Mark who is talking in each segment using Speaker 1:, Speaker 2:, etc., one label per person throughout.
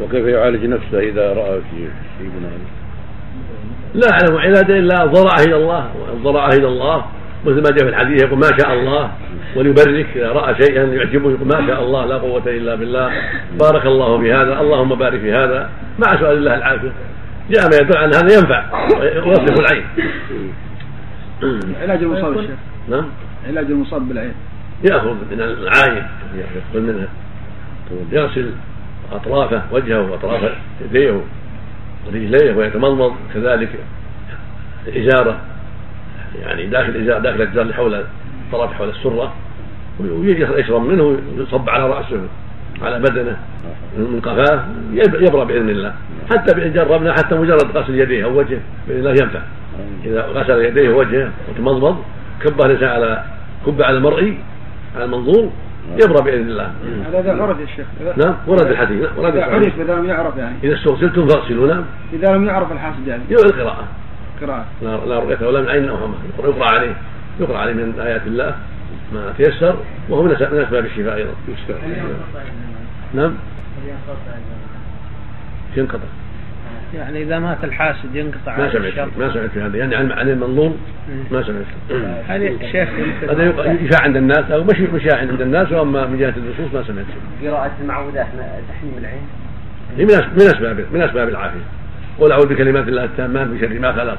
Speaker 1: وكيف يعالج نفسه اذا راى شيء شيء من هذا؟
Speaker 2: لا اعلم عباده الا ضرعه الى الله ضرعه الى الله مثل ما جاء في الحديث يقول ما شاء الله وليبرك اذا راى شيئا يعجبه يقول ما شاء الله لا قوه الا بالله بارك الله في هذا اللهم بارك في هذا مع سؤال الله العافيه جاء ما يدل عن هذا ينفع ويصرف العين
Speaker 3: علاج المصاب
Speaker 4: طيب،
Speaker 3: يا شيخ
Speaker 2: نعم
Speaker 3: علاج المصاب بالعين
Speaker 2: ياخذ من العاين يأخذ منها يغسل اطرافه وجهه واطراف يديه ورجليه ويتمضمض كذلك ازاره يعني داخل الازار داخل الازار اللي حول الطرف حول السره ويشرب منه يصب على راسه على بدنه من قفاه يب- يبرى باذن الله حتى بإن جربنا حتى مجرد غسل يديه او وجهه باذن الله ينفع اذا غسل يديه ووجهه وتمضمض كبه الانسان على كب على المرئي على المنظور يبرى باذن الله
Speaker 3: هذا اذا عرف يا شيخ إذا-
Speaker 2: نعم ورد الحديث نعم، ورد
Speaker 3: اذا
Speaker 2: الحديث
Speaker 3: عرف اذا لم يعرف يعني
Speaker 2: اذا استغسلتم فاغسلوا نعم
Speaker 3: اذا لم يعرف الحاسد يعني
Speaker 2: يقرأ القراءه
Speaker 3: قراءه
Speaker 2: لا لا رؤيته ولا من عين او همه يقرأ- يقرا عليه يقرا عليه من ايات الله ما تيسر وهو من أس- من اسباب الشفاء ايضا نعم ينقطع
Speaker 4: يعني اذا مات الحاسد ينقطع
Speaker 2: ما
Speaker 4: هذا
Speaker 2: سمعت
Speaker 4: الشر.
Speaker 2: فيه. ما سمعت في هذا يعني عن عن المنظور ما سمعت فيه.
Speaker 4: هل الشيخ يمكن
Speaker 2: هذا يق- يشاع عند الناس او مش مشاع عند الناس واما من جهه النصوص ما سمعت فيه.
Speaker 5: قراءة المعوذات ما- تحميم العين
Speaker 2: هي من أس- من اسباب من اسباب العافيه قل اعوذ بكلمات الله التامات من شر ما خلق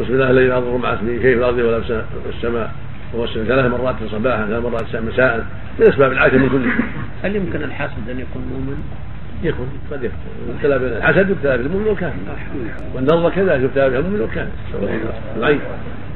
Speaker 2: بسم الله الذي لا يضر مع اسمه شيء في الارض ولا في السماء وهو السميع. ثلاث مرات صباحا ثلاث مرات مساء من اسباب العافيه من كل شيء
Speaker 4: هل يمكن الحاسد ان يكون مؤمن؟
Speaker 2: يكون قد يكون يبتلى بالحسد يبتلى بالمؤمن والكافر والنظر كذلك يبتلى بالمؤمن والكافر العين